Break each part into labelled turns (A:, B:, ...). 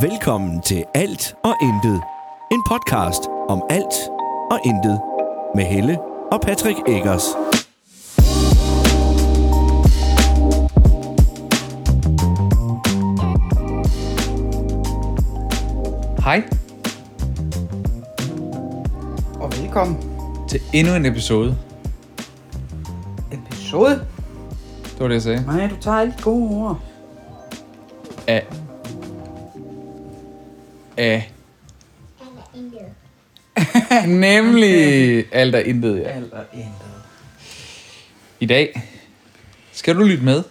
A: Velkommen til Alt og Intet. En podcast om alt og intet. Med Helle og Patrick Eggers.
B: Hej
C: Og velkommen.
B: til endnu en episode.
C: Episode.
B: Det var det, jeg sagde.
C: Nej, du tager alle de gode ord.
B: Af. Af. Nemlig alt er intet, ja.
C: Alt og intet.
B: I dag skal du lytte med,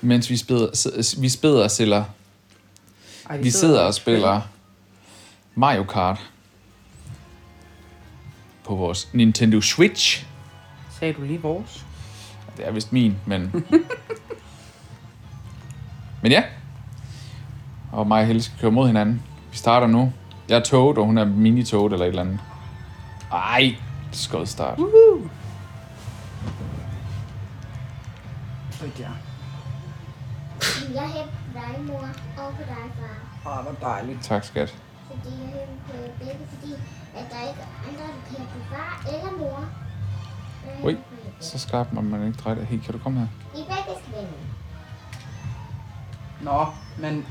B: mens vi spiller, s- vi spiller og sælger.
C: Ej,
B: Vi sidder og spiller Mario Kart på vores Nintendo Switch.
C: Sagde du lige vores?
B: Det er vist min, men... men ja. Og mig og Helle skal køre mod hinanden. Vi starter nu. Jeg er toget, og hun er mini toget eller et eller andet. Ej, skød start.
C: Så ja.
D: Jeg henter dig, mor, og på dig, far.
C: Åh, hvor dejligt.
B: Tak, skat.
D: Fordi jeg henter på jer begge, fordi at der ikke er andre, der kan på far eller mor. Jeg
B: Ui,
D: henter på jer begge.
B: så skarp må man ikke dreje det. Hey, kan du komme her?
D: I begge skal vinde.
C: Nå, men...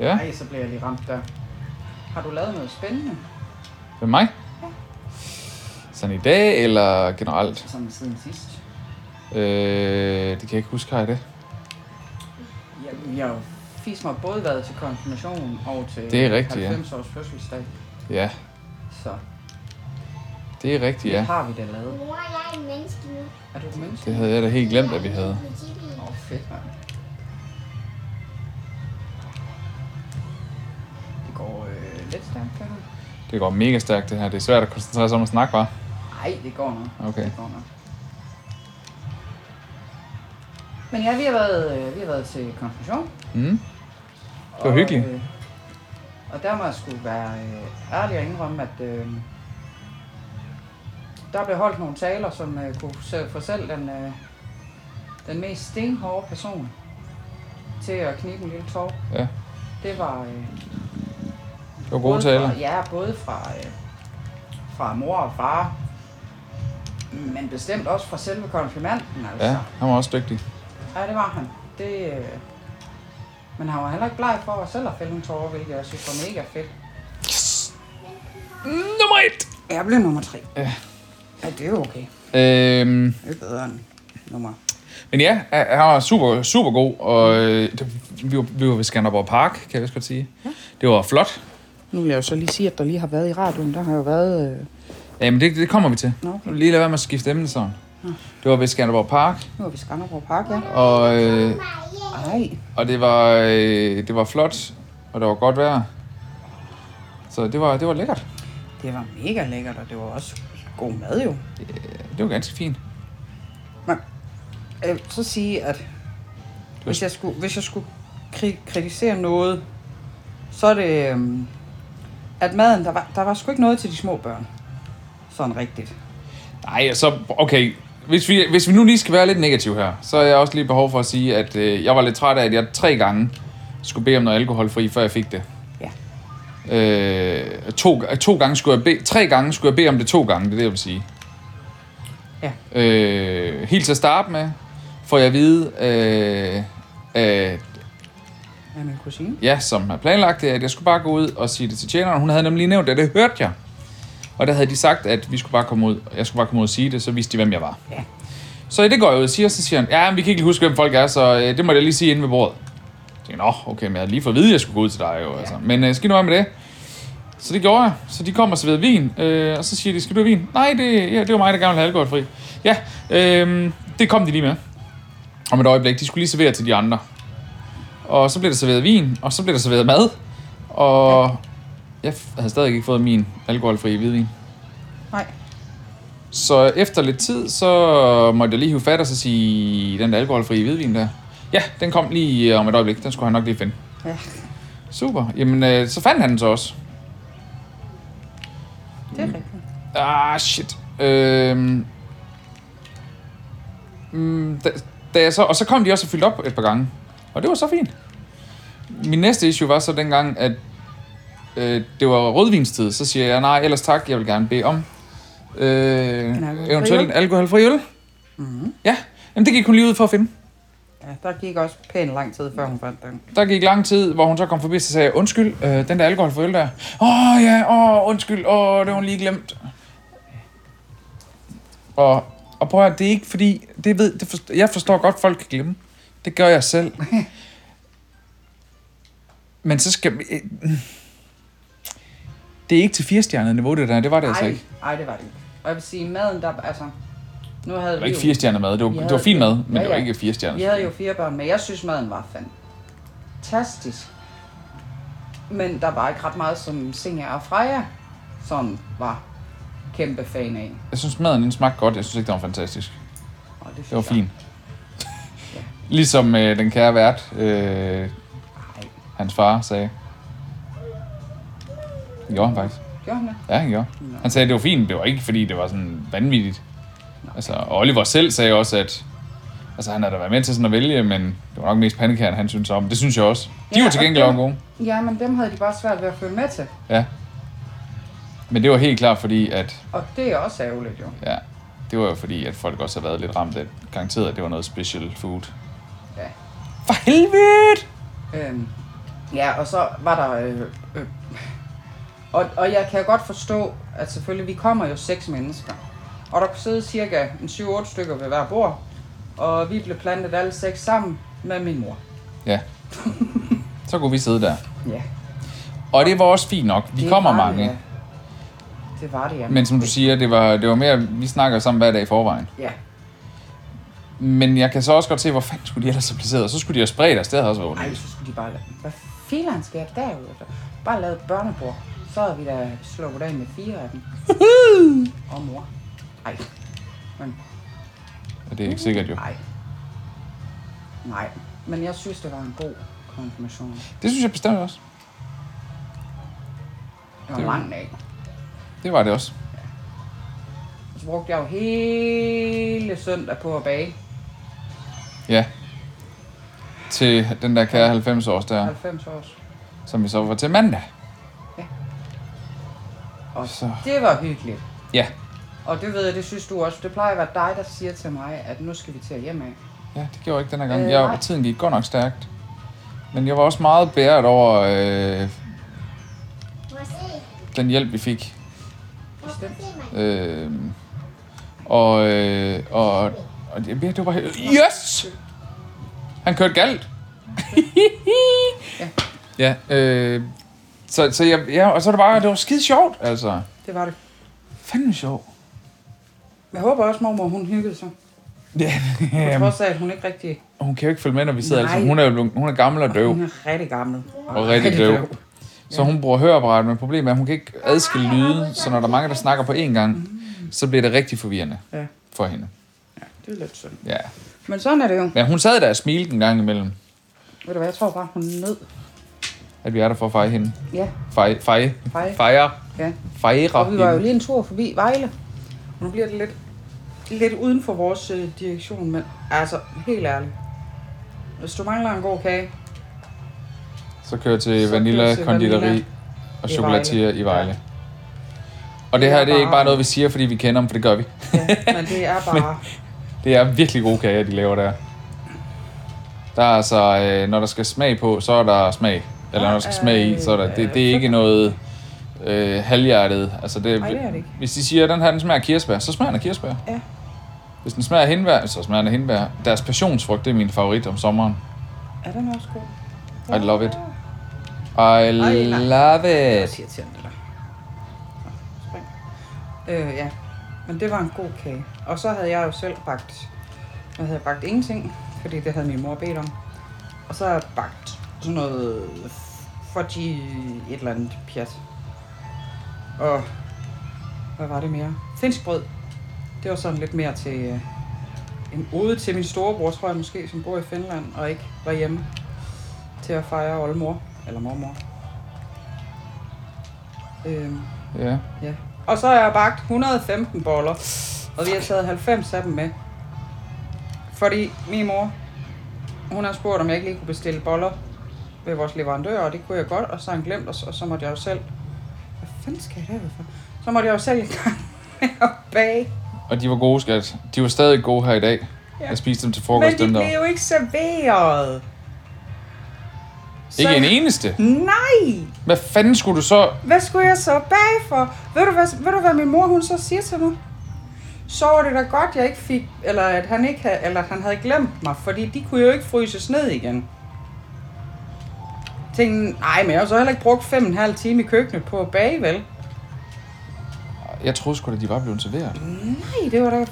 B: Ja.
C: Ej, så bliver jeg lige ramt der. Har du lavet noget spændende?
B: Med mig? Sådan i dag, eller generelt?
C: Altså, Sådan siden sidst.
B: Øh, det kan jeg ikke huske, har jeg det?
C: Jeg, jeg har jo fisk mig både været til konfirmation og til
B: Det er rigtigt, ja.
C: 90 års fødselsdag.
B: Ja,
C: Så
B: det er rigtigt,
C: det
B: ja.
C: har vi da lavet.
D: Mor, jeg er en menneske nu.
C: Er du et menneske?
B: Det havde jeg da helt glemt, at vi havde.
D: Jeg er en politibil.
C: Åh, fedt, mand. Det går øh, lidt stærkt, det her.
B: Det går mega stærkt, det her. Det er svært at koncentrere sig om at snakke, var.
C: Nej, det går nok.
B: Okay.
C: Det går nok. Men ja, vi har været, øh, vi har været til konfirmation.
B: Mm. Det var hyggeligt.
C: Øh, og der må jeg sgu være øh, ærlig og indrømme, at øh, der blev holdt nogle taler, som øh, kunne se- få selv den, øh, den mest stenhårde person til at knibe en lille tår.
B: Ja.
C: Det var... Øh,
B: Det var
C: Både
B: gode taler.
C: Fra, ja, både fra, øh, fra mor og far, men bestemt også fra selve konfirmanden. Altså.
B: Ja, han var også dygtig.
C: ja, det var han. Det, øh, men han var heller ikke bleg for at selv at fælde en tårer, hvilket jeg synes var mega fedt.
B: Nummer et!
C: Jeg blev nummer tre.
B: Ja.
C: Ja, det er jo okay.
B: Øhm,
C: Det er bedre end nummer.
B: men ja, han han var super, super god, og øh, det, vi, var, vi var ved Skanderborg Park, kan jeg vist godt sige. Ja. Det var flot.
C: Nu vil jeg jo så lige sige, at der lige har været i radioen, der har jo været... Øh,
B: Jamen, det, det kommer vi til.
C: Nå, okay.
B: Nu Lige lad være med at skifte emne sådan. Det var ved Skanderborg Park,
C: nu er vi i Skanderborg Park, ja.
B: og, øh,
D: Marie,
C: Ej,
B: og det, var, øh, det var flot, og der var godt vejr. Så det var, det var lækkert.
C: det var mega lækkert, og det var også god mad jo.
B: Det var ganske fint.
C: Men jeg vil så sige, at hvis jeg skulle, hvis jeg skulle kri- kritisere noget, så er det, øhm, at maden, der var, der var sgu ikke noget til de små børn. Sådan rigtigt.
B: Nej, og så, okay, hvis vi, hvis vi nu lige skal være lidt negativ her, så er jeg også lige behov for at sige, at øh, jeg var lidt træt af, at jeg tre gange skulle bede om noget alkoholfri, før jeg fik det.
C: Ja.
B: Øh, to, to gange skulle jeg bede, tre gange skulle jeg bede om det to gange, det er det, jeg vil sige.
C: Ja.
B: Øh, helt til at starte med, får jeg at vide, øh, øh,
C: Af min kusine.
B: Mm. ja, som har planlagt det, at jeg skulle bare gå ud og sige det til tjeneren. Hun havde nemlig nævnt det, og det hørte jeg. Og der havde de sagt, at vi skulle bare komme ud, jeg skulle bare komme ud og sige det, så vidste de, hvem jeg var.
C: Ja.
B: Så det går jeg ud og siger, så siger han, ja, men vi kan ikke lige huske, hvem folk er, så øh, det må jeg da lige sige inde ved bordet. Jeg tænkte, nå, okay, men jeg havde lige fået at vide, at jeg skulle gå ud til dig, jo, altså. Men øh, skal nu være med det. Så det gjorde jeg. Så de kom og serverede vin, øh, og så siger de, skal du have vin? Nej, det, ja, det var mig, der gerne ville have alkoholfri. Ja, øh, det kom de lige med. Om et øjeblik, de skulle lige servere til de andre. Og så blev der serveret vin, og så blev der serveret mad. Og jeg f- havde stadig ikke fået min alkoholfri hvidvin.
C: Nej.
B: Så efter lidt tid, så måtte jeg lige hive fat og så sige, den der alkoholfri hvidvin der. Ja, den kom lige om et øjeblik. Den skulle han nok lige finde.
C: Ja.
B: Super. Jamen, øh, så fandt han den så også.
C: Det
B: Mm.
C: er rigtigt.
B: Ah, shit. Øhm, mm, da, da jeg så, og så kom de også og fyldte op et par gange. Og det var så fint. Min næste issue var så dengang, at øh, det var rødvinstid. Så siger jeg, nej, ellers tak, jeg vil gerne bede om øh,
C: alkoholfri
B: eventuelt
C: øl. Mhm.
B: en alkoholfri øl. Mm-hmm. Ja, Jamen, det gik hun lige ud for at finde.
C: Ja, der gik også pænt lang tid, før hun fandt den.
B: Der gik lang tid, hvor hun så kom forbi, så sagde jeg, undskyld, øh, den der alkoholfri øl der. Åh oh, ja, åh, oh, undskyld, åh, oh, det har hun lige glemt. Og, og prøv at høre, det er ikke fordi, det ved, det forstår, jeg forstår godt, folk kan glemme. Det gør jeg selv. Men så skal... Øh, det er ikke til firestjernet niveau, det der. Det var det altså
C: Ej,
B: ikke.
C: ej, det var det ikke. Og jeg vil sige, maden, der... Altså, nu havde
B: Det var
C: vi
B: ikke
C: jo-
B: firestjernet mad. Det var,
C: Vi
B: det var
C: havde-
B: fin mad, men
C: Ja,
B: det var
C: ja.
B: ikke firestjernet.
C: Vi havde jo fire børn, men jeg synes, maden var fantastisk. Men der var ikke ret meget, som Senja og Freja, som var kæmpe fan af.
B: Jeg synes, maden den smagte godt. Jeg synes ikke, det var fantastisk.
C: Og det, synes
B: Det var
C: jeg-
B: fint. Ligesom øh, den kære vært, øh,
C: Ej,
B: hans far, sagde. Det gjorde han faktisk.
C: gjorde han det?
B: Ja, han gjorde. Han sagde, at det var fint. Det var ikke, fordi det var sådan vanvittigt. Altså, og Oliver selv sagde også, at altså, han havde da været med til sådan at vælge, men det var nok mest pandekagerne, han synes om. Det synes jeg også. De
C: Ja,
B: var til
C: og
B: gengæld
C: dem-
B: også gode.
C: Ja, men dem havde de bare svært ved at følge med til.
B: Ja. Men det var helt klart fordi, at
C: Og det er også ærgerligt jo.
B: ja, det var jo fordi, at folk også har været lidt ramt af garanteret, at det var noget special food.
C: Ja.
B: For helvede!
C: Øhm, ja, og så var der... Øh, øh, og, og jeg kan jo godt forstå, at selvfølgelig, vi kommer jo seks mennesker. Og der kunne sidde cirka en 7-8 stykker ved hver bord. Og vi blev plantet alle seks sammen med min mor.
B: Ja. Så kunne vi sidde der.
C: Ja.
B: Og det var også fint nok. Vi
C: det
B: kommer
C: var det,
B: mange.
C: ja. Det var det, ja.
B: Men som du siger, det var, det var mere, vi snakker sammen hver dag i forvejen.
C: Ja,
B: Men jeg kan så også godt se, hvor fanden skulle de ellers have placeret. Så skulle de have spredt os. Det havde også været
C: ej,
B: underligt.
C: så skulle de bare... lade- Hvad filan skal jeg derude efter? Bare lavet et børnebord. Så havde vi da slået af med fire af dem. og mor. Ej. Men
B: Og det er ikke sikkert jo.
C: Nej. Nej, men jeg synes, det var en god konfirmation. Det
B: Det synes jeg bestemt også.
C: var
B: Det
C: en
B: var-
C: lang dag.
B: Det var det også.
C: Og så brugte jeg jo hele søndag på at bage.
B: Ja. Til den der kære 90 års der,
C: 90 års.
B: som vi så var til mandag.
C: Og
B: Så.
C: det var hyggeligt.
B: Ja.
C: Og det ved jeg, det synes du også. Det plejer at være dig, der siger til mig, at nu skal vi til hjem af.
B: Ja, det gjorde jeg ikke den her gang.
C: Øh,
B: Øh, jeg,
C: nej.
B: tiden gik godt nok stærkt. Men jeg var også meget bæret over øh,
D: Må jeg se?
B: den hjælp, vi fik.
D: Må jeg se mig?
B: Øh, og, øh, og, og det, det var bare... Yes! Han kørte galt. ja. ja øh, så, så jeg, ja, og så er det bare, det var skide sjovt, altså.
C: Det var det.
B: Fanden sjovt.
C: Jeg håber også, mormor hun hyggede sig.
B: Ja,
C: På
B: jamen,
C: trods af, at hun ikke rigtig...
B: hun kan jo ikke følge med, når vi sidder.
C: Nej.
B: Altså, hun, er, jo blevet- hun er gammel og døv.
C: Hun er rigtig gammel.
B: Og rigtig døv. Så hun bruger høreapparat, men problemet er, at hun kan ikke adskille lyde, så når der er mange, der snakker på én gang, så bliver det rigtig forvirrende
C: Ja,
B: for hende.
C: det er lidt synd.
B: Ja.
C: Men sådan er det jo.
B: Men hun sad der og smilte en gang imellem,
C: Ved du hvad, jeg tror bare, hun nød.
B: at vi er der for at feje hende.
C: Ja,
B: Feje. Feje.
C: Feje.
B: Fejre.
C: ja.
B: Fejre.
C: Og vi var jo
B: hende.
C: lige en tur forbi Vejle. Og nu bliver det lidt, lidt uden for vores øh, direktion, men altså, helt ærligt. Hvis du mangler en god kage,
B: Så kører til
C: Så kører
B: Vanilla
C: til
B: Konditori
C: Vanilla
B: og
C: i
B: chokolatier
C: Vejle.
B: i Vejle.
C: Ja.
B: Og det
C: Det
B: her,
C: er
B: det er ikke bare
C: bare-
B: noget, vi siger, fordi vi kender dem, for det gør vi.
C: ja, men det er bare...
B: Det er virkelig gode kager, de laver der. Der er altså, øh, når der skal smag på, så er der smag. Eller når der skal smag i, så er der... Det, det er ikke noget øh, halvhjertet. Altså det,
C: Nej, det er det ikke.
B: Hvis de siger, at den her den smager af kirsebær, så smager den af kirsebær.
C: Ja.
B: Hvis den smager af hindbær, så smager den af hindbær. Deres passionsfrugt, det er min favorit om sommeren.
C: Er den også god?
B: I love it. I
C: nej.
B: love
C: Jeg
B: it.
C: siger til det der. Nå, spring. Øh, ja. Men det var en god kage. Og så havde jeg jo selv bagt... Jeg havde bagt ingenting, fordi det havde min mor bedt om. Og så har jeg bagt sådan noget fudgy et eller andet pjat. Og hvad var det mere? Finsk brød. Det var sådan lidt mere til øh, en ode til min storebror, tror jeg måske, som bor i Finland og ikke var hjemme til at fejre oldemor, eller mormor. Øhm,
B: Ja.
C: ja. Og så har jeg bagt 115 boller, og vi har taget 90 af dem med. Fordi min mor, hun har spurgt, om jeg ikke lige kunne bestille boller ved vores leverandør, og det kunne jeg godt, og så har han glemt os, og så måtte jeg jo selv... Hvad fanden skal jeg derud for? Så måtte jeg jo selv i gang med at bage.
B: Og de var gode, skat. De var stadig gode her i dag.
C: Ja.
B: Jeg spiste dem til
C: Men
B: frokost,
C: de
B: dem der.
C: blev jo ikke serveret. Så-
B: Ikke en eneste.
C: Nej!
B: Hvad fanden skulle du så...
C: Hvad skulle jeg så bage for? Ved du, hvad, ved du, hvad min mor hun så siger til mig? Så var det da godt, jeg ikke fik, eller at han, ikke havde, eller at han havde glemt mig, fordi de kunne jo ikke fryses ned igen. Jeg tænkte, nej, men jeg har så heller ikke brugt fem og en halv time i køkkenet på at bage, vel?
B: Jeg troede sgu da, de var blevet serveret.
C: Nej, det var da...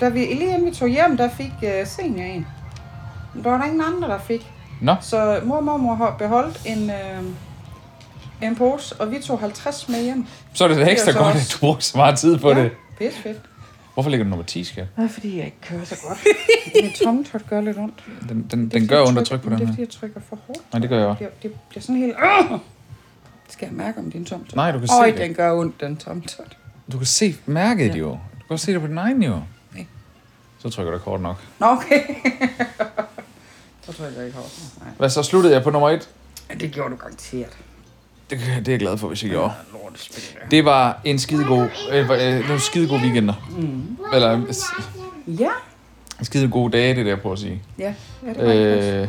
C: Da vi lige inden vi tog hjem, der fik uh, senior en. Men der var der ingen andre, der fik.
B: Nå,
C: Så mor og mormor har beholdt en, øh, en pose, og vi tog 50 med hjem.
B: så er det da
C: er
B: ekstra
C: så
B: godt,
C: også-
B: at du brugte så meget tid på
C: ja,
B: det.
C: Pisse fedt.
B: Hvorfor ligger du nummer 10, skat?
C: Nej, fordi jeg ikke kører så godt. Min tommeltot gør lidt ondt.
B: Den,
C: Det
B: den,
C: er,
B: den
C: fordi,
B: gør
C: jeg
B: ondt at
C: trykker-
B: trykke på
C: men
B: den
C: Det er,
B: her.
C: fordi jeg trykker for hårdt.
B: Nej, det gør jeg
C: Det
B: også.
C: bliver, det bliver sådan helt... Øh! Skal jeg mærke, om det er en tommeltot?
B: Nej, du kan
C: Øj,
B: se det.
C: den gør ondt, den tommeltot.
B: Du kan se mærket ja. jo. Du kan også se det på din egen jo.
C: Nej.
B: Så trykker du kort nok.
C: Nå, okay. så tror jeg, jeg ikke har Nej,
B: Hvad så sluttede jeg på nummer 1?
C: Ja, det gjorde du garanteret.
B: Det, det er jeg glad for, hvis jeg gjorde.
C: Lortespil.
B: Det var en skidegod, øh, hvor- øh, nogle skidegode weekender. Eller en s-
C: Ja.
B: en skidegod dage, det der på at sige.
C: Ja, ja det var øh...
B: Øh,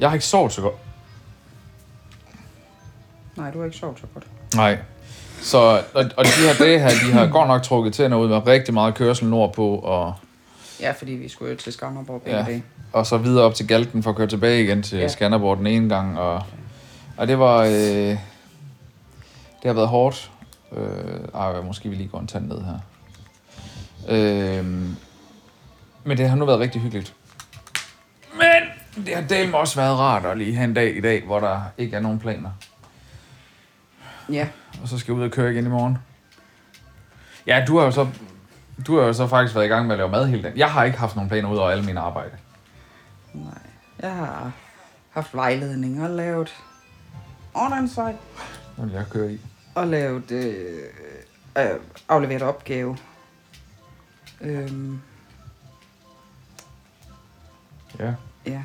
B: jeg har ikke sovet så godt.
C: Nej, du har ikke sovet så godt.
B: Nej. Så, og, og de her dage her, de har godt nok trukket tænder ud med rigtig meget kørsel nordpå, og,
C: Ja, fordi vi skulle jo til Skanderborg begge ja.
B: ja,
C: dage.
B: og så videre op til Galten for at køre tilbage igen til
C: Ja.
B: ja. Skanderborg den ene gang. Og, og det var... Øh, det har været hårdt. Øh, ej, måske vi lige går en tand ned her. Øh, men det har nu været rigtig hyggeligt. Men det har delt også været rart at lige have en dag i dag, hvor der ikke er nogen planer.
C: Ja,
B: Og så skal jeg ud og køre igen i morgen. Ja, du har jo så, du har jo så faktisk været i gang med at lave mad hele dagen. Jeg har ikke haft nogen planer ud over alle mine arbejde.
C: nej. Jeg har haft vejledning og lavet online
B: Nu vil jeg køre i.
C: og lavet øh, øh, afleveret opgave. Øhm,
B: Ja.
C: ja.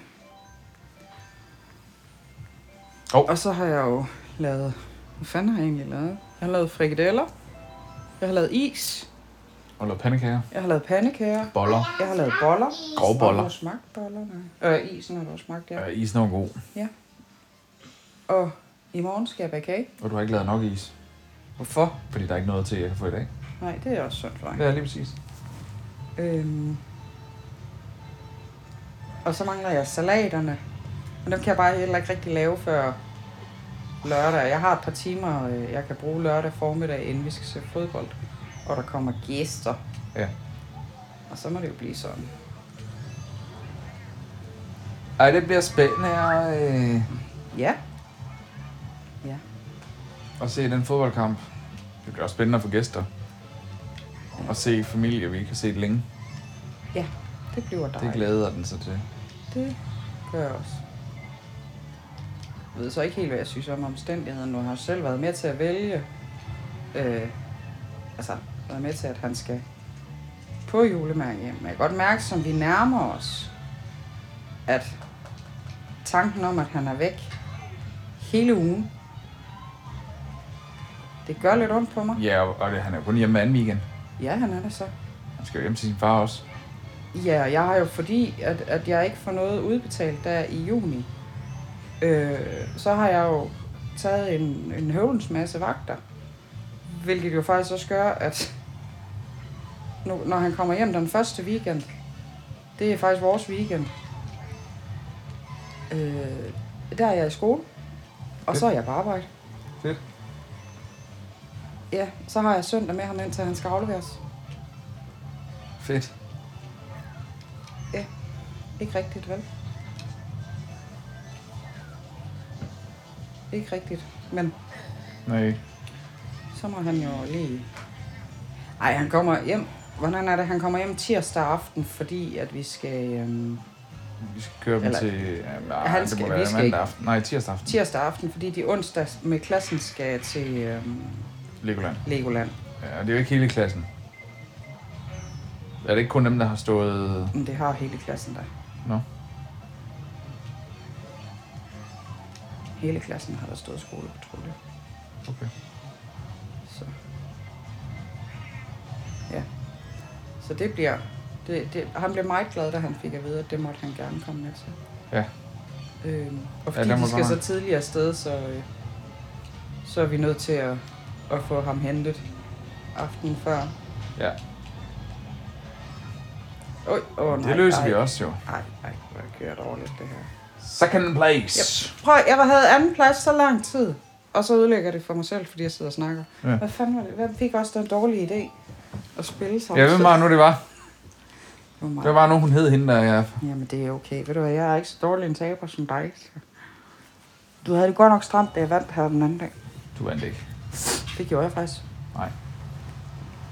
B: Hov.
C: Og så har jeg jo lavet... Hvad fanden har jeg egentlig lavet? Jeg har lavet frikadeller. Jeg har lavet is.
B: Og lave pandekager.
C: Jeg har lavet pandekager.
B: Boller.
C: Jeg har lavet boller.
B: Grove
C: Har du
B: boller.
C: smagt boller? Nej. Øh, isen har du også smagt, ja.
B: Ja, isen var god.
C: Og i morgen skal jeg bage kage.
B: Og du har ikke lavet nok is.
C: Hvorfor?
B: Fordi der er ikke noget til, jeg kan få i dag.
C: Nej, det er også sundt for
B: Ja, lige præcis.
C: øhm. Og så mangler jeg salaterne. Men dem kan jeg bare heller ikke rigtig lave før lørdag. Jeg har et par timer, øh, jeg kan bruge lørdag formiddag, inden vi skal se fodbold. Og der kommer gæster.
B: Ja.
C: Og så må det jo blive sådan.
B: Ej, det bliver spændende at, øh,
C: Ja.
B: at se den fodboldkamp. Det bliver også spændende at få gæster. Og se familie, vi ikke har set længe.
C: Ja, det bliver
B: Det
C: dejligt.
B: glæder den sig til.
C: Det gør jeg også. Jeg ved så ikke helt, hvad jeg synes om omstændigheden. Nu har jeg selv været med til at vælge. Øh, altså, været med til, at han skal på julemærke hjem. Men jeg kan godt mærke, som vi nærmer os, at tanken om, at han er væk hele ugen, det gør lidt ondt på mig.
B: Ja, og- og det, han er jo kun hjemme anden weekend.
C: Ja, han er der så.
B: Han skal jo hjem til sin far også.
C: Ja, jeg har jo fordi, at, at jeg ikke får noget udbetalt der i juni. Øh, så har jeg jo taget en, en høvlens masse vagter. Hvilket jo faktisk også gør, at nu, når han kommer hjem den første weekend, det er faktisk vores weekend. Øh, der er jeg i skole, og så er jeg på arbejde.
B: Fedt.
C: Ja, så har jeg søndag med ham indtil han skal afleveres.
B: Fedt.
C: Ikke rigtigt, vel? Ikke rigtigt, men
B: Nej.
C: så må han jo lige... Ej, han kommer hjem... Hvordan er det, han kommer hjem tirsdag aften, fordi at vi skal... Øhm,
B: Vi skal køre dem
C: Eller-
B: til... Jamen, nej,
C: han
B: det
C: skal-
B: må
C: vi
B: være
C: skal
B: mandag
C: ikke.
B: aften. Nej, tirsdag aften.
C: tirsdag aften, fordi de onsdag med klassen skal til øhm,
B: Legoland.
C: Legoland.
B: Ja, det er jo ikke hele klassen. Er det ikke kun dem, der har stået...
C: Men det har hele klassen der.
B: Nå.
C: Hele klassen har der stået skolepatrulje.
B: Okay.
C: Så. Ja. Så det bliver... Det, det, han blev meget glad, da han fik at vide, at det måtte han gerne komme med til.
B: Ja.
C: Øhm, og fordi
B: der
C: ja,
B: må
C: de skal
B: godt
C: så
B: nok.
C: tidligt afsted, så, øh, så er vi nødt til at, at få ham hentet aftenen før.
B: Ja.
C: Øj, åh, nej,
B: Det løser
C: ej,
B: vi også jo.
C: Ej, ej, hvor er det kørt over lidt det her.
B: Second place.
C: Prøv, jeg havde anden plads så lang tid, og så ødelægger det for mig selv, fordi jeg sidder og snakker.
B: Ja.
C: Ja. Hvad fanden var det? Hvem fik også den dårlige idé at spille sammen?
B: Jeg ved bare nu, det var.
C: Det var mig.
B: Det var nu, hun hed hende, der jeg...
C: Jamen, det er okay. Ved du hvad, jeg er ikke så dårlig en taber som dig. Så. Du havde det godt nok stramt, da jeg vandt her den anden dag.
B: Du vandt ikke.
C: Det gjorde jeg faktisk.
B: Nej.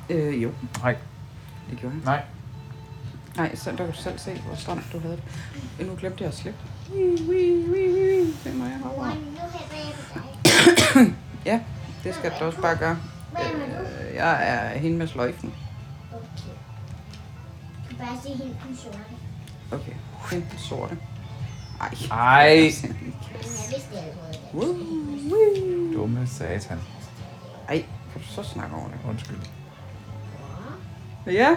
C: Øh, jo,
B: Nej.
C: det gjorde jeg.
B: Nej.
C: Nej, så der kan du selv se, hvor stramt du havde det. Øh, Nu glemte jeg at slippe. Ui, ui, ui, ui. Det må jeg hoppe
D: Mor,
C: over.
D: nu hælder jeg på dig.
C: Ja, det skal du også bare gøre. Øh, jeg er hende med sløjfen.
D: Okay. Du kan bare se hende den sorte.
C: Okay, hende den sorte. Ej.
B: Ej.
D: Men jeg vidste, jeg havde fået det.
C: Ui, ui.
B: Dumme satan.
C: Ej, kan du så snakke over det?
B: Undskyld.
C: Ja.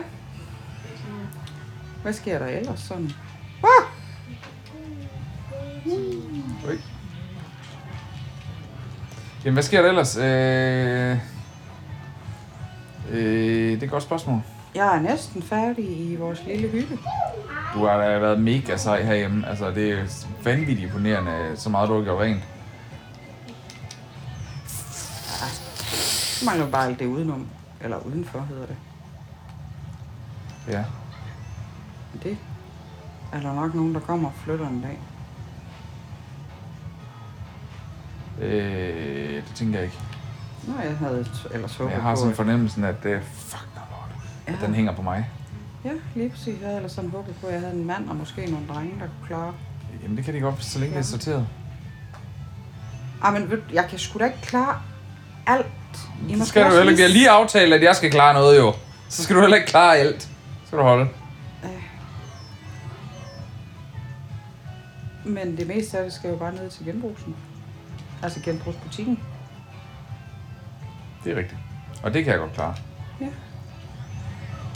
C: Hvad sker der ellers sådan? Ah!
B: Ui. Jamen, hvad sker der ellers? Øh... Øh, det er et godt spørgsmål.
C: Jeg er næsten færdig i vores lille hytte.
B: Du har da været mega sej herhjemme. Altså, det er vanvittigt imponerende, så meget du har gjort rent.
C: Så Altså, mangler vi bare alt det udenom. Eller udenfor hedder det.
B: Ja.
C: Men det er der nok nogen, der kommer og flytter en dag.
B: Øh, det tænker jeg ikke.
C: Nå, jeg havde t- ellers
B: Men
C: håbet
B: jeg har
C: på,
B: sådan
C: at-
B: fornemmelsen, at det fuck no, lord, at
C: Ja.
B: den hænger på mig.
C: Ja, lige præcis. Jeg havde ellers sådan håbet på, at jeg havde en mand og måske nogle drenge, der kunne klare.
B: Jamen, det kan de godt, så længe det er sorteret.
C: Ej, Ah, men ved, du, jeg kan sgu da ikke klare alt. I må
B: Så skal du
C: også
B: heller ikke. Jeg har lige aftalt, at jeg skal klare noget, jo. Så skal du heller ikke klare alt. Så skal du holde.
C: Men det meste af det skal jo bare ned til genbrugsen. Altså genbrugsbutikken.
B: Det er rigtigt. Og det kan jeg godt klare.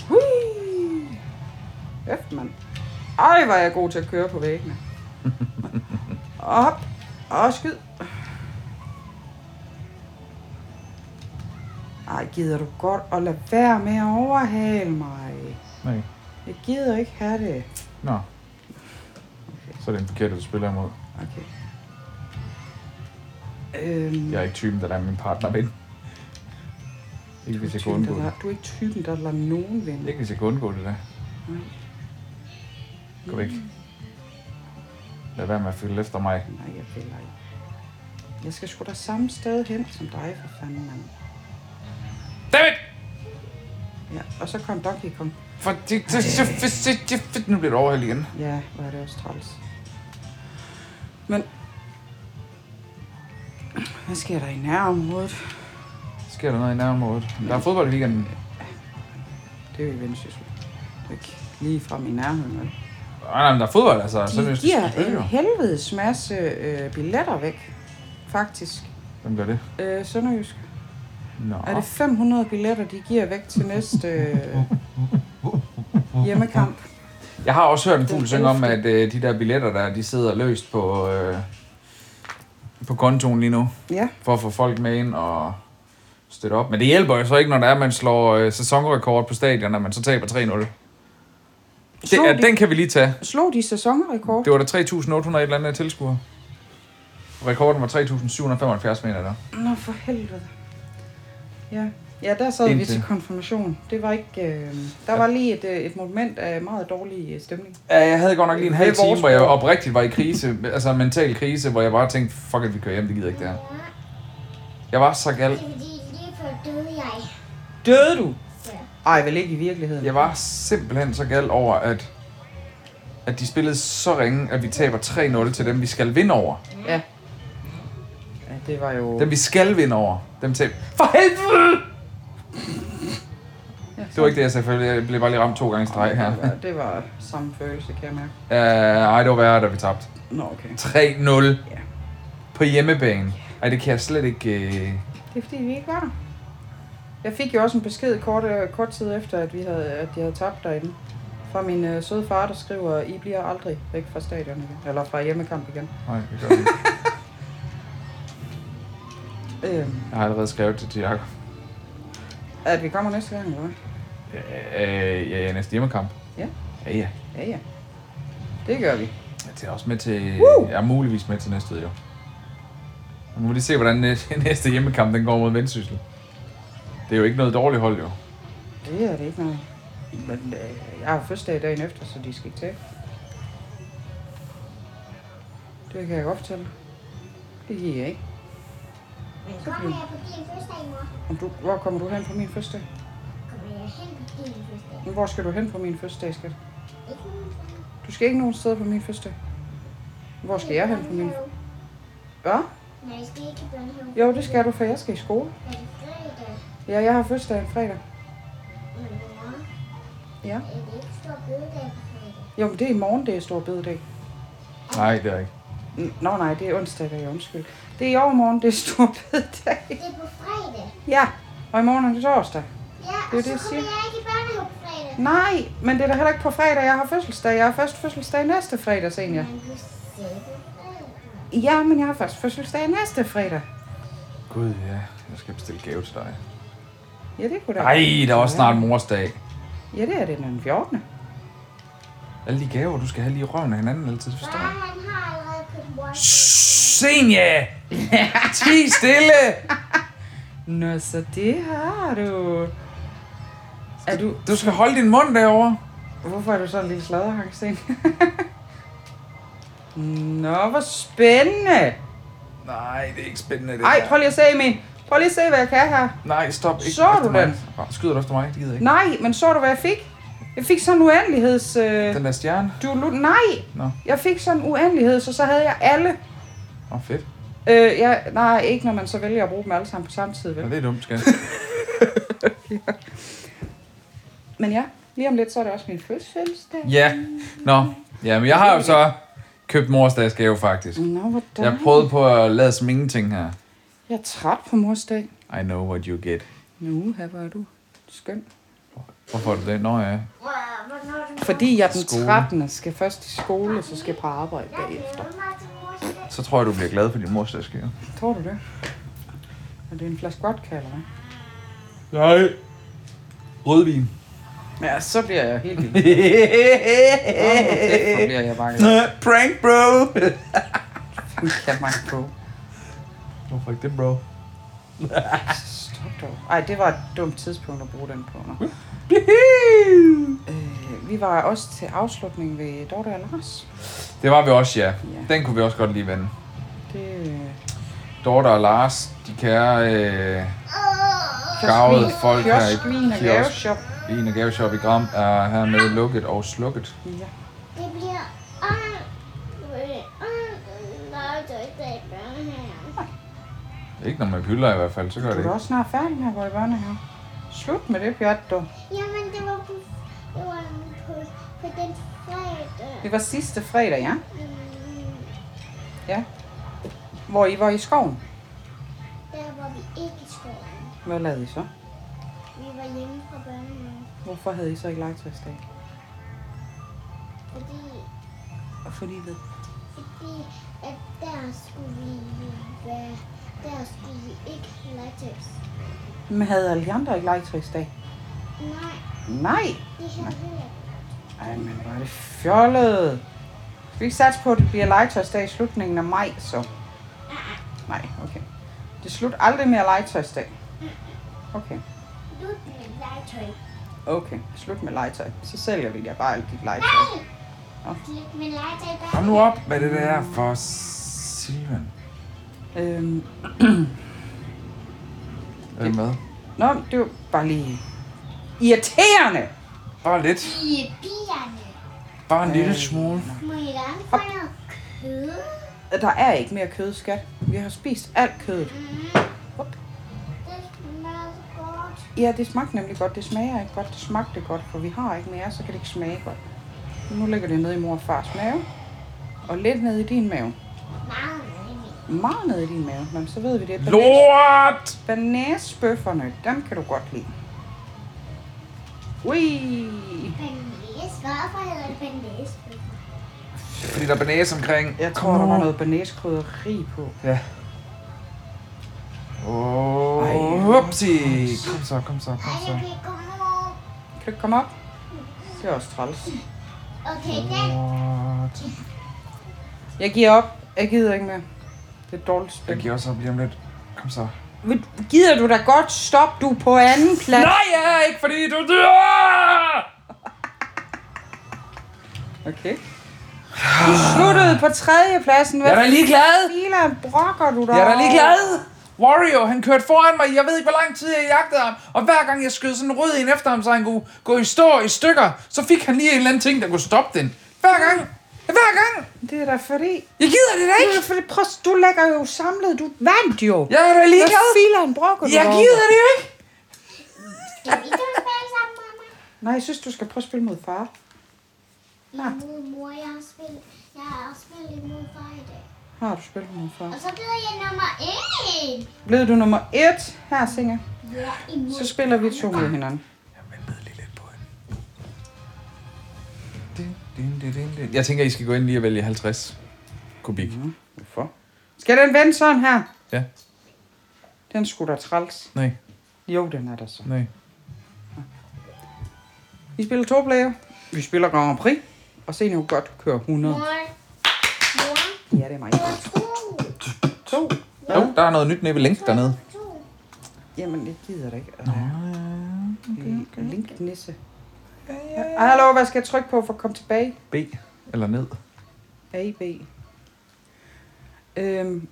C: Hui! Efter, mand. Ej, var jeg god til at køre på væggene. Og Op og skyd. Ej, gider du godt at lade være med at overhale mig?
B: Nej.
C: Jeg gider ikke have det.
B: Nå. Så er det en forkert, du spiller imod.
C: Okay. Øhm,
B: Jeg er ikke typen, der lader min partner vinde. Ikke hvis jeg
C: typen,
B: kunne undgå
C: der
B: det.
C: lader- du er ikke typen, der lader nogen vinde.
B: Ikke hvis jeg kunne undgå det der.
C: Nej.
B: Gå væk. Lad være med at følge efter mig.
C: Nej, jeg vil ikke. Jeg skal sgu da samme sted hen som dig, for fanden, mand.
B: Dammit!
C: Ja, og så kom Donkey Kong.
B: For det, det, det, det, det, det, nu bliver det overhældt igen.
C: Ja, hvor er det også træls. Men... Hvad sker der i nærområdet?
B: Sker der noget i nærområdet? Der er fodbold i weekenden. Ah,
C: Det er jo i Vendsyssel. Det er ikke lige frem i nærheden, vel?
B: Nej, nej, men der er fodbold, altså. Så er
C: De
B: det
C: giver
B: selvfølgelig
C: en
B: jo.
C: helvedes masse øh, billetter væk, faktisk.
B: Hvem gør det?
C: Øh, Sønderjysk.
B: Nå.
C: Er det 500 billetter, de giver væk til næste øh, hjemmekamp?
B: Jeg har også hørt en fugl
C: Den
B: synge om,
C: elfte.
B: at øh, de der billetter der, de sidder løst på, øh, på kontoen lige nu,
C: Ja,
B: for at få folk med ind og støtte op. Men det hjælper jo så ikke, når der er, at man slår øh, sæsonrekord på stadion, når man så taber 3-0. Det,
C: Slog
B: ja,
C: de-
B: den kan vi lige tage.
C: slog de sæsonrekord?
B: Det var der 3.800 et eller andet tilskuere. Og Rekorden var 3.775 meter der.
C: Nå, for helvede. Ja, ja der sad vi
B: Indtil-
C: til konfirmation. Det var ikke... Øh, der var lige et, øh, et moment af meget dårlig øh, stemning.
B: Ja, jeg havde godt nok lige en
C: Det
B: halv
C: er vores
B: time, hvor jeg
C: bord.
B: oprigtigt var i krise, altså mental krise, hvor jeg bare tænkte, fuck it, vi kører hjem, det gider ikke det her.
D: Mor,
B: Jeg var så gal.
D: det er fordi lige før døde jeg.
C: Døde du?
D: Ja.
C: Ej, vel ikke i virkeligheden.
B: Jeg var simpelthen så gal over, at, at de spillede så ringe, at vi taber 3-0 til dem, vi skal vinde over.
C: Ja. ja det var jo...
B: Dem, vi skal vinde over. Dem taber. For helvede! Det var ikke det, jeg sagde, for jeg blev bare lige ramt to gange i streg her.
C: det var, det var samme følelse, kan jeg mærke.
B: Uh, ej, det var værre, da vi tabte.
C: Nå, okay.
B: 3-0.
C: Ja.
B: på hjemmebane. Ej, det kan jeg slet ikke... Øh...
C: Det er fordi, vi ikke var der. Jeg fik jo også en besked kort, øh, kort tid efter, at, vi havde, at de havde tabt derinde. Fra min øh, søde far, der skriver, I bliver aldrig væk fra stadion igen. Eller fra hjemmekamp igen.
B: Nej, det gør jeg ikke.
C: Øhm,
B: Jeg har allerede skrevet det til Jacob.
C: at vi kommer næste gang, eller hvad?
B: Øh, ja, ja, næste hjemmekamp.
C: Ja.
B: Ja, ja.
C: Ja, ja. Det gør vi.
B: Jeg tager også med til...
C: Woo!
B: Jeg er muligvis med til næste jo. Nu må vi lige se, hvordan øh, næste hjemmekamp den går mod Vendsyssel. Det er jo ikke noget dårligt hold, jo.
C: Det er det ikke noget. Men øh, jeg har fødselsdag dagen efter, så de skal ikke tage. Det kan jeg godt fortælle. Det giver jeg ikke.
D: Men kommer jeg på din fødselsdag, mor?
C: Om du, hvor kommer du hen på min fødselsdag?
D: Kommer jeg hen på din fødselsdag?
C: Hvor skal du hen på min fødselsdag, skat?
D: Ikke nogen steder.
C: Du skal ikke nogen steder på min fødselsdag. Hvor skal jeg hen på min... Ja?
D: Nej, jeg skal ikke i børnehave.
C: Jo, det skal du, for jeg skal i skole.
D: Er det fredag?
C: Ja, jeg har fødselsdag en fredag.
D: Men mor,
C: Ja.
D: er det ikke stor bødedag på fredag?
C: Jo, men det er i morgen, det er stor bededag.
B: Nej, det er ikke.
C: N- Nå nej, det er onsdag, der er undskyld. Det er i overmorgen, det er stor bededag.
D: Det er på fredag.
C: Ja, og i morgen er det torsdag.
D: Ja,
C: Det
D: det
C: er det, jeg
D: og så kommer
C: siger.
D: jeg ikke i børnehave på fredag.
C: Nej, men det er da heller ikke på fredag, jeg har fødselsdag. Jeg har først fødselsdag næste fredag, senior.
D: Men du sagde på fredag.
C: Ja, men jeg har først fødselsdag næste fredag.
B: Gud, ja. Jeg skal bestille gave til dig.
C: Ja, det kunne da.
B: Nej, der er også snart mors dag.
C: Ja, det er det den 14.
B: Alle de gaver, du skal have lige i røven af hinanden altid, det forstår
D: Far,
B: jeg.
D: han har allerede købt mor.
B: Senja! Ti stille!
C: Nå, så det har du. Er du...
B: Du skal holde din mund derovre.
C: Hvorfor er du så en lille sladderhank, senior? Nå, hvor spændende.
B: Nej, det er ikke spændende, det
C: Ej,
B: der.
C: prøv lige at se, min. Prøv lige at se, hvad jeg kan her.
B: Nej, stop. Ikke
C: Så
B: efter
C: du
B: mig.
C: den?
B: Nå, Skyder du efter mig? Det gider jeg ikke.
C: Nej, men så du, hvad jeg fik? Jeg fik sådan en uendeligheds... Øh,
B: Den der stjerne?
C: du, nej,
B: Nå,
C: jeg fik sådan en uendelighed, så så havde jeg alle.
B: Nå fedt.
C: Øh, jeg, nej, ikke når man så vælger at bruge dem alle sammen på samme tid,
B: Nå,
C: vel?
B: det er dumt, skat.
C: Men ja, lige om lidt, så er det også min fødselsdag.
B: Ja, nå. Ja, men jeg har jo så købt morsdagsgave, faktisk.
C: Nå, hvordan?
B: Jeg prøvede på at lade som ingenting her.
C: Jeg er træt på mors dag.
B: I know what you get.
C: Nu, her var du skøn.
B: Hvorfor er det det? Nå ja.
D: Mor, hvornår er det mor?
C: Fordi jeg den
B: Skole.
C: 13. skal først i skole, så skal jeg på arbejde
D: Jeg
C: bagefter.
D: glæder mig til mors dag.
B: Så tror jeg, du bliver glad for din morsdagsgave.
C: Tror du det? Er det en flaske vodka, eller hvad?
B: Nej. Rødvin.
C: Ja, så bliver jeg helt vildt. Så bliver jeg bare glad.
B: Prank, bro.
C: Kan mig på.
B: Hvorfor ikke det, bro?
C: Stop dog. Ej, det var et dumt tidspunkt at bruge den på. Nå. Øh, vi var også til afslutning ved Dorte og Lars.
B: Det var vi også, ja.
C: Ja.
B: Den kunne vi også godt lige vende.
C: Det øh,
B: Dorte og Lars, de kære øh, gavede
C: kiosk-
B: folk her i
C: kiosk, min og
B: kiosk.
C: gaveshop.
B: Vin og gaveshop i Gram er hermed lukket og slukket.
C: Ja.
D: Det bliver on- øh, on- lørdagsdag i børnehaven.
B: Ikke når man piller i hvert fald, så gør
C: Du
B: det
C: er da
B: ikke.
C: også snart færdig med at gå i børnehave. Slut med det, pjat, du.
D: Jamen, det var på, det var på, på den fredag.
C: Det var sidste fredag, ja?
D: Mm,
C: Ja. Hvor I var i skoven.
D: Der var vi ikke i skoven.
C: Hvad lavede I så?
D: Vi var hjemme fra børnehaven,
C: Hvorfor havde I så ikke legetøjsdag?
D: fordi,
C: Fordi ved.
D: fordi at der skulle vi være, der skulle vi ikke have legetøjs.
C: Men havde alle de andre ikke legetøjsdag?
D: Nej,
C: Nej!
D: det havde heller ikke.
C: Ej, men hvor er det fjollet. Skal vi ikke satse på, at det bliver legetøjsdag i slutningen af maj, så? Nej, okay. Det er slut aldrig mere legetøjsdag. Okay.
D: Du med legetøj.
C: Okay, slut med legetøj. Så sælger vi jer bare alt dit legetøj.
D: Nej! Slut med legetøj bare.
B: Kom nu op, hvad det der er for Silvan.
C: Øhm,
B: Er det med?
C: nå, det var bare lige... Irriterende!
B: Bare lidt.
D: I bierne.
B: Bare
C: Øh,
B: en lille smule.
D: Må I gerne få noget kød?
C: Der er ikke mere kød, skat. Vi har spist alt kødet.
D: Mm.
C: Hop.
D: Det smager så godt.
C: Ja, det smagte nemlig godt. Det smager ikke godt. Det smagte godt, for vi har ikke mere, så kan det ikke smage godt. Nu ligger det nede i mor og fars mave. Og lidt nede i din mave.
D: Meget nemlig.
C: meget ned i din mave. Nå, men så ved vi det.
B: Lort!
C: Banæsbøfferne, dem kan du godt lide. Ui!
D: Hvorfor hedder det banæsbøffer?
B: Fordi der er banæs omkring.
C: Jeg tror, der var noget banæskrydderi på.
B: Ja.
C: Ej.
B: Åh, oh, Kom så, kom så,
D: Ej,
B: kom
D: jeg kan
B: så.
D: ikke komme ud.
C: Kan du ikke komme op? Det er også træls.
D: Okay, den.
B: What?
C: Jeg giver op. Jeg gider ikke mere. Det er et dårligt
B: Jeg
C: spil.
B: giver også op lige om lidt. Kom så.
C: Vil- Gider du da godt? Stop, du er på anden plads.
B: Nej, jeg er ikke, fordi du dør!
C: Okay. Du sluttede på tredje pladsen. Hvad
B: Jeg er da ligeglad.
C: Filan brokker du dig
B: Jeg er da
C: over?
B: lige glad. Wario, han kørte foran mig. Jeg ved ikke, hvor lang tid jeg jagtede ham. Og hver gang jeg skød sådan en rød en efter ham, så han kunne gå i stå i stykker, så fik han lige en eller anden ting, der kunne stoppe den. Hver gang. Hver gang.
C: Det er da fordi...
B: Jeg gider det da
C: Det er
B: ikke.
C: da fordi, prøv, at- du lægger jo samlet. Du vandt jo.
B: Jeg er da lige
C: Hvad
B: glad.
C: filan brokker du
B: Jeg
C: dig over?
B: gider det jo ikke.
D: Skal vi ikke spille sammen, mamma?
C: Nej, jeg synes, du skal prøve at spille mod far.
D: Ja, mod mor, jeg har spillet, jeg har også spillet imod far i dag.
C: Har du spillet mod far?
D: Og så bliver jeg nummer 1.
C: Blev du nummer et her, Singer?
D: Ja, imod.
C: Så spiller vi to mod hinanden.
B: Jeg ved lige lidt på hende. Din, din, din, din, din. Jeg tænker, I skal gå ind lige og vælge 50 kubik.
C: Hvorfor? Skal den vende sådan her?
B: Ja,
C: Den skulle da træls.
B: nej,
C: Jo, den er der så.
B: nej.
C: Vi spiller to player. Vi spiller Grand Prix. Og se nu godt kører 100.
D: Mor. Mor.
C: Ja, det er mig.
D: Mor, to.
C: To.
B: Jo, der er noget nyt nede ved link dernede.
D: To.
C: Jamen, det gider det ikke. Nå, okay, okay. Link nisse. Ja, Hallo, hvad skal jeg trykke på for at komme tilbage?
B: B eller ned.
C: A, B. Øhm,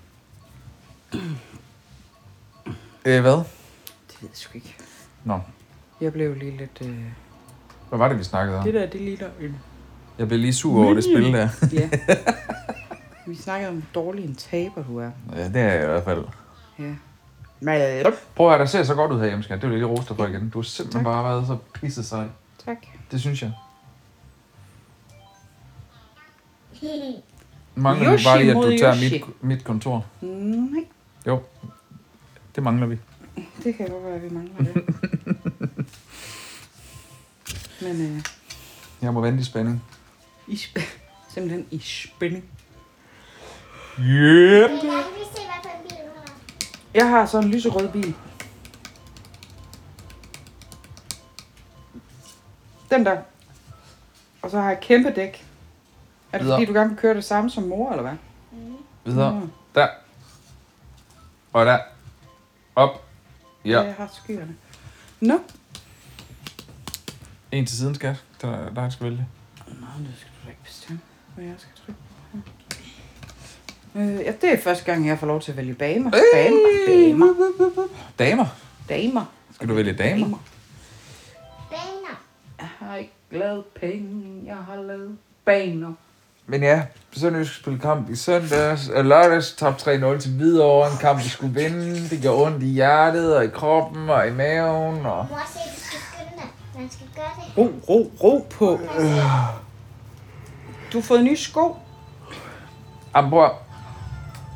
B: Øh, hvad?
C: det ved jeg sgu ikke.
B: Nå,
C: Jeg blev lige lidt... Øh...
B: hvad var det, vi snakkede om?
C: Det der, det ligner en...
B: Jeg blev lige sur over det spil der.
C: Ja. Vi snakkede om, hvor dårlig en taber du er.
B: Ja, det er jeg i hvert fald.
C: Ja. Men,
B: Prøv at høre, der ser så godt ud her skat. Det vil jeg lige roste for igen. Du har simpelthen bare været så pisse sej.
C: tak.
B: Det synes jeg.
C: Mangler
B: Mangler
C: vi
B: Yoshi
C: Yoshi bare
B: bare at
C: lige, at mod
B: du
C: du tager
B: tager
C: Yoshi.
B: mit, mit kontor.
C: Nej,
B: Jo, det mangler vi.
C: det kan godt være, at vi mangler det. Men øh,
B: Jeg må vente i spænding.
C: i sp- simpelthen i spænding.
B: Yep.
D: Men der kan vi se, hvad for en bil du har.
C: Jeg har sådan en lyserød bil. Den der. Og så har jeg kæmpe dæk. Er det
B: Videre.
C: fordi, du gerne vil køre det samme som mor, eller hvad?
B: Videre.
C: Mm.
B: Der. Og der. Op. Ja.
C: Jeg har skyerne. Nå.
B: En til siden, skat. Der, der skal vælge.
C: Nå, det skal du da ikke bestemme, hvad jeg skal trykke på her. Øh, ja, det er første gang, jeg får lov til at vælge bamer.
B: Øh!
C: Bamer, bamer,
B: Damer.
C: damer.
B: Skal du vælge damer?
D: Baner.
C: Jeg har ikke lavet penge, jeg har lavet baner.
B: Men ja, Sønderjysk spillede kamp i søndags, og lørdags tabte 3-0 til Hvidovre, en kamp, de skulle vinde. Det gjorde ondt i hjertet og i kroppen og i maven. Og...
D: Mor se, du skal skynde dig. Man skal gøre det.
C: Ro, ro, ro på. Øh. Du har fået nye sko.
B: Jamen, prøv. at-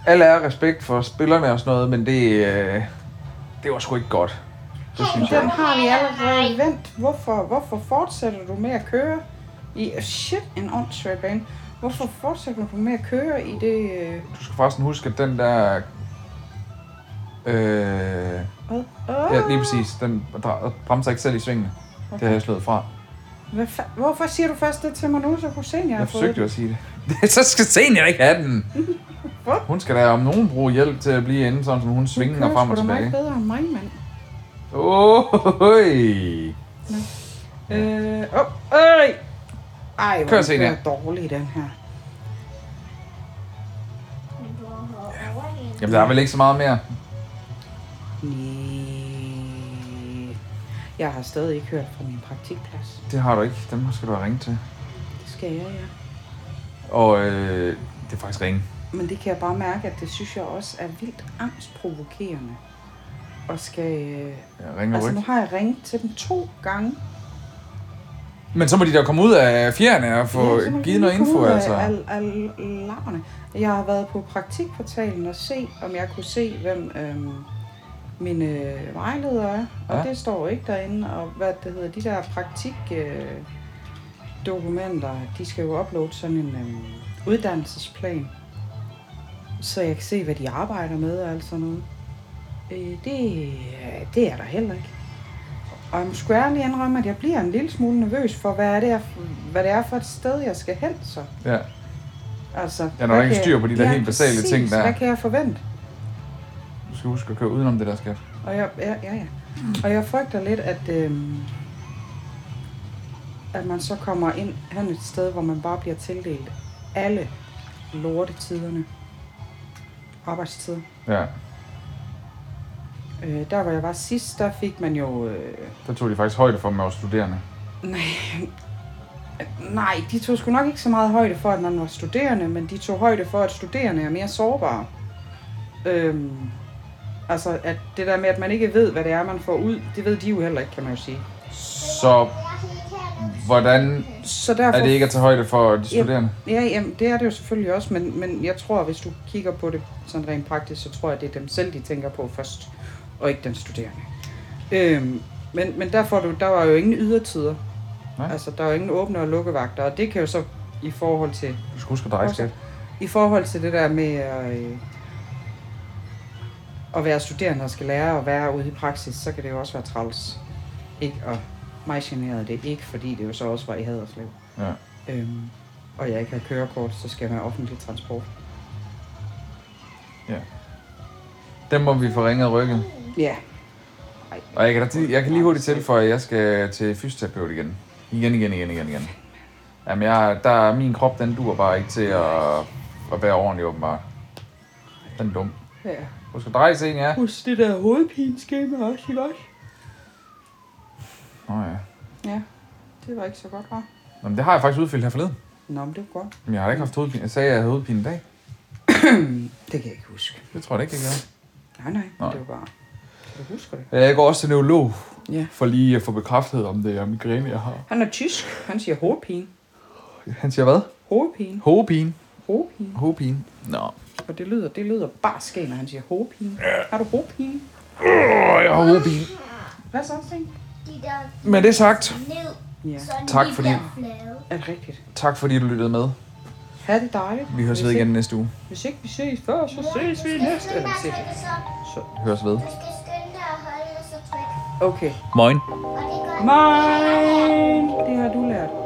B: Al ære respekt for spillerne og sådan noget, men det, øh, det var sgu ikke godt. Det synes jeg
C: Den
B: ikke.
C: har vi allerede vendt. Hvorfor, hvorfor fortsætter du med at køre i... Shit, en åndssvær bane. Hvorfor fortsætter du med at køre i det... øh,
B: Du skal forresten huske, at den der... Øh,
C: Hvad?
B: ja, lige præcis. Den dra- bremser ikke selv i svingene. Okay. Det har jeg slået fra.
C: Hvad fa- Hvorfor siger du først det til mig nu, så kunne se, at jeg har
B: Jeg
C: fået
B: forsøgte jo
C: det?
B: at sige det. så skal Senior ikke have den.
C: Hvad?
B: Hun skal da om nogen bruge hjælp til at blive inde, sådan som hun svinger frem og
C: Du kører sgu da meget
B: tilbage.
C: bedre end mig, mand.
B: Åh, høj.
C: Øh, oh, øj. Ej, hvor
B: Kør,
C: er den
B: Zenia.
C: kører dårlig, den her.
D: Men du har overlevet.
B: Jamen, der er vel ikke så meget mere.
C: Næh. Jeg har stadig ikke hørt fra min praktikplads.
B: Det har du ikke. Dem skal du have ringet til.
C: Det skal jeg, ja.
B: Og øh, det er faktisk ringe.
C: Men det kan jeg bare mærke, at det synes jeg også er vildt angstprovokerende. Og skal... Øh,
B: Jeg ringer
C: altså,
B: altså,
C: nu
B: ikke.
C: har jeg ringet til dem to gange.
B: Men så må de da komme ud af fjerne og få
C: så må
B: ja,
C: de
B: givet
C: lige
B: noget
C: komme
B: info,
C: ud af-
B: altså.
C: Af, af lapperne. Jeg har været på praktikportalen og se, om jeg kunne se, hvem øhm, mine øh, vejledere er. Og
B: Ja.
C: ja. det står ikke derinde. Og hvad det hedder, de der praktik... Øh, dokumenter, de skal jo uploade sådan en øhm, uddannelsesplan, så jeg kan se, hvad de arbejder med og alt sådan noget. Øh, det, det er der heller ikke. Og jeg må sgu ærligt indrømme, at jeg bliver en lille smule nervøs for, hvad, er det, jeg, hvad det er for et sted, jeg skal hen så.
B: Ja.
C: Altså,
B: der er
C: hvad
B: ikke
C: kan jeg-
B: styr på de der
C: Ja,
B: helt basale
C: præcis.
B: ting, der er.
C: Hvad kan jeg forvente?
B: Du skal huske at køre udenom det der skat.
C: Og jeg, ja, ja, ja. Og jeg frygter lidt, at, øhm, at man så kommer ind hen et sted, hvor man bare bliver tildelt alle lortetiderne. Arbejdstid.
B: Ja.
C: Øh, der hvor jeg var sidst, der fik man jo... Øh,
B: Der tog de faktisk højde for, at man var studerende.
C: nej, de tog sgu nok ikke så meget højde for, at man var studerende, men de tog højde for, at studerende er mere sårbare. Øhm, altså, at det der med, at man ikke ved, hvad det er, man får ud, det ved de jo heller ikke, kan man jo sige.
B: Så
C: Mm.
B: hvordan
C: Så derfor
B: er det ikke at tage højde for de studerende?
C: Ja, jamen, det er det jo selvfølgelig også, men, men jeg tror, hvis du kigger på det sådan rent praktisk, så tror jeg, det er dem selv, de tænker på først, og ikke den studerende. Øhm, men, men der, får du, der var jo ingen ydertider.
B: Nej.
C: Nej. Altså, der var ingen åbne og lukkevagter, og det kan jo så i forhold til,
B: Du skal huske at dreje skat.
C: i forhold til det der med at, øh, at være studerende og skal lære og være ude i praksis, så kan det jo også være træls. Ikke? Og mig generede det ikke, fordi det jo så også var i Haderslev
B: Ja.
C: øhm, og jeg ikke har kørekort, så skal jeg have offentlig transport.
B: Den må vi få ringet ryggen.
C: Ja.
B: Og jeg kan, da- jeg kan lige hurtigt tilføje, at jeg skal til fysioterapeut igen. Igen, igen, igen, igen, igen. Jamen, jeg, der, min krop, den dur bare ikke til at, at være ordentlig, åbenbart. Den er dum.
C: ja.
B: Du skal dreje scenen, ja.
C: Husk det der hovedpineskema også, ikke også?
B: Nå ja.
C: Ja, det var ikke så godt, var.
B: Nå, men det har jeg faktisk udfyldt her forleden.
C: Nå, men det var godt.
B: Men jeg har da ikke haft hovedpine. Jeg sagde, at jeg havde hovedpine i dag.
C: Det kan jeg ikke huske.
B: Det tror jeg da ikke, jeg gjorde.
C: Nej, nej,
B: Nej.
C: nej. det var bare... Kan du huske det?
B: Ja, Jeg går også til neurolog,
C: Ja.
B: for lige at få bekræftet, om det er migræne, jeg har.
C: Han er tysk. Han siger hovedpine.
B: Han siger hvad?
C: Hovedpine.
B: Hovedpine.
C: Hovedpine.
B: Hovedpine. Nå.
C: Og det lyder, det lyder bare skægt, når han siger hovedpine. Ja. Har du hovedpine?
B: Åh, jeg har hovedpine.
C: Hvad så, Sten?
D: De der
B: Med det sagt,
D: ned,
C: Ja.
D: så de
B: Tak fordi-
D: bliver flade.
C: Er det rigtigt?
B: tak fordi du lyttede med.
C: Ha' det dejligt.
B: Vi høres
C: Hvis
B: ved igen
C: ikke-
B: næste uge.
C: Hvis ikke vi ses før, så ses vi
D: Du skal
C: næste.
D: skynde
C: Eller
D: dig at
C: ses.
D: trykke så.
B: Høres ved.
D: Du skal skynde dig at holde og så trykke.
C: Okay.
B: Moin.
D: Og det gør
C: Mine! Det har du lært.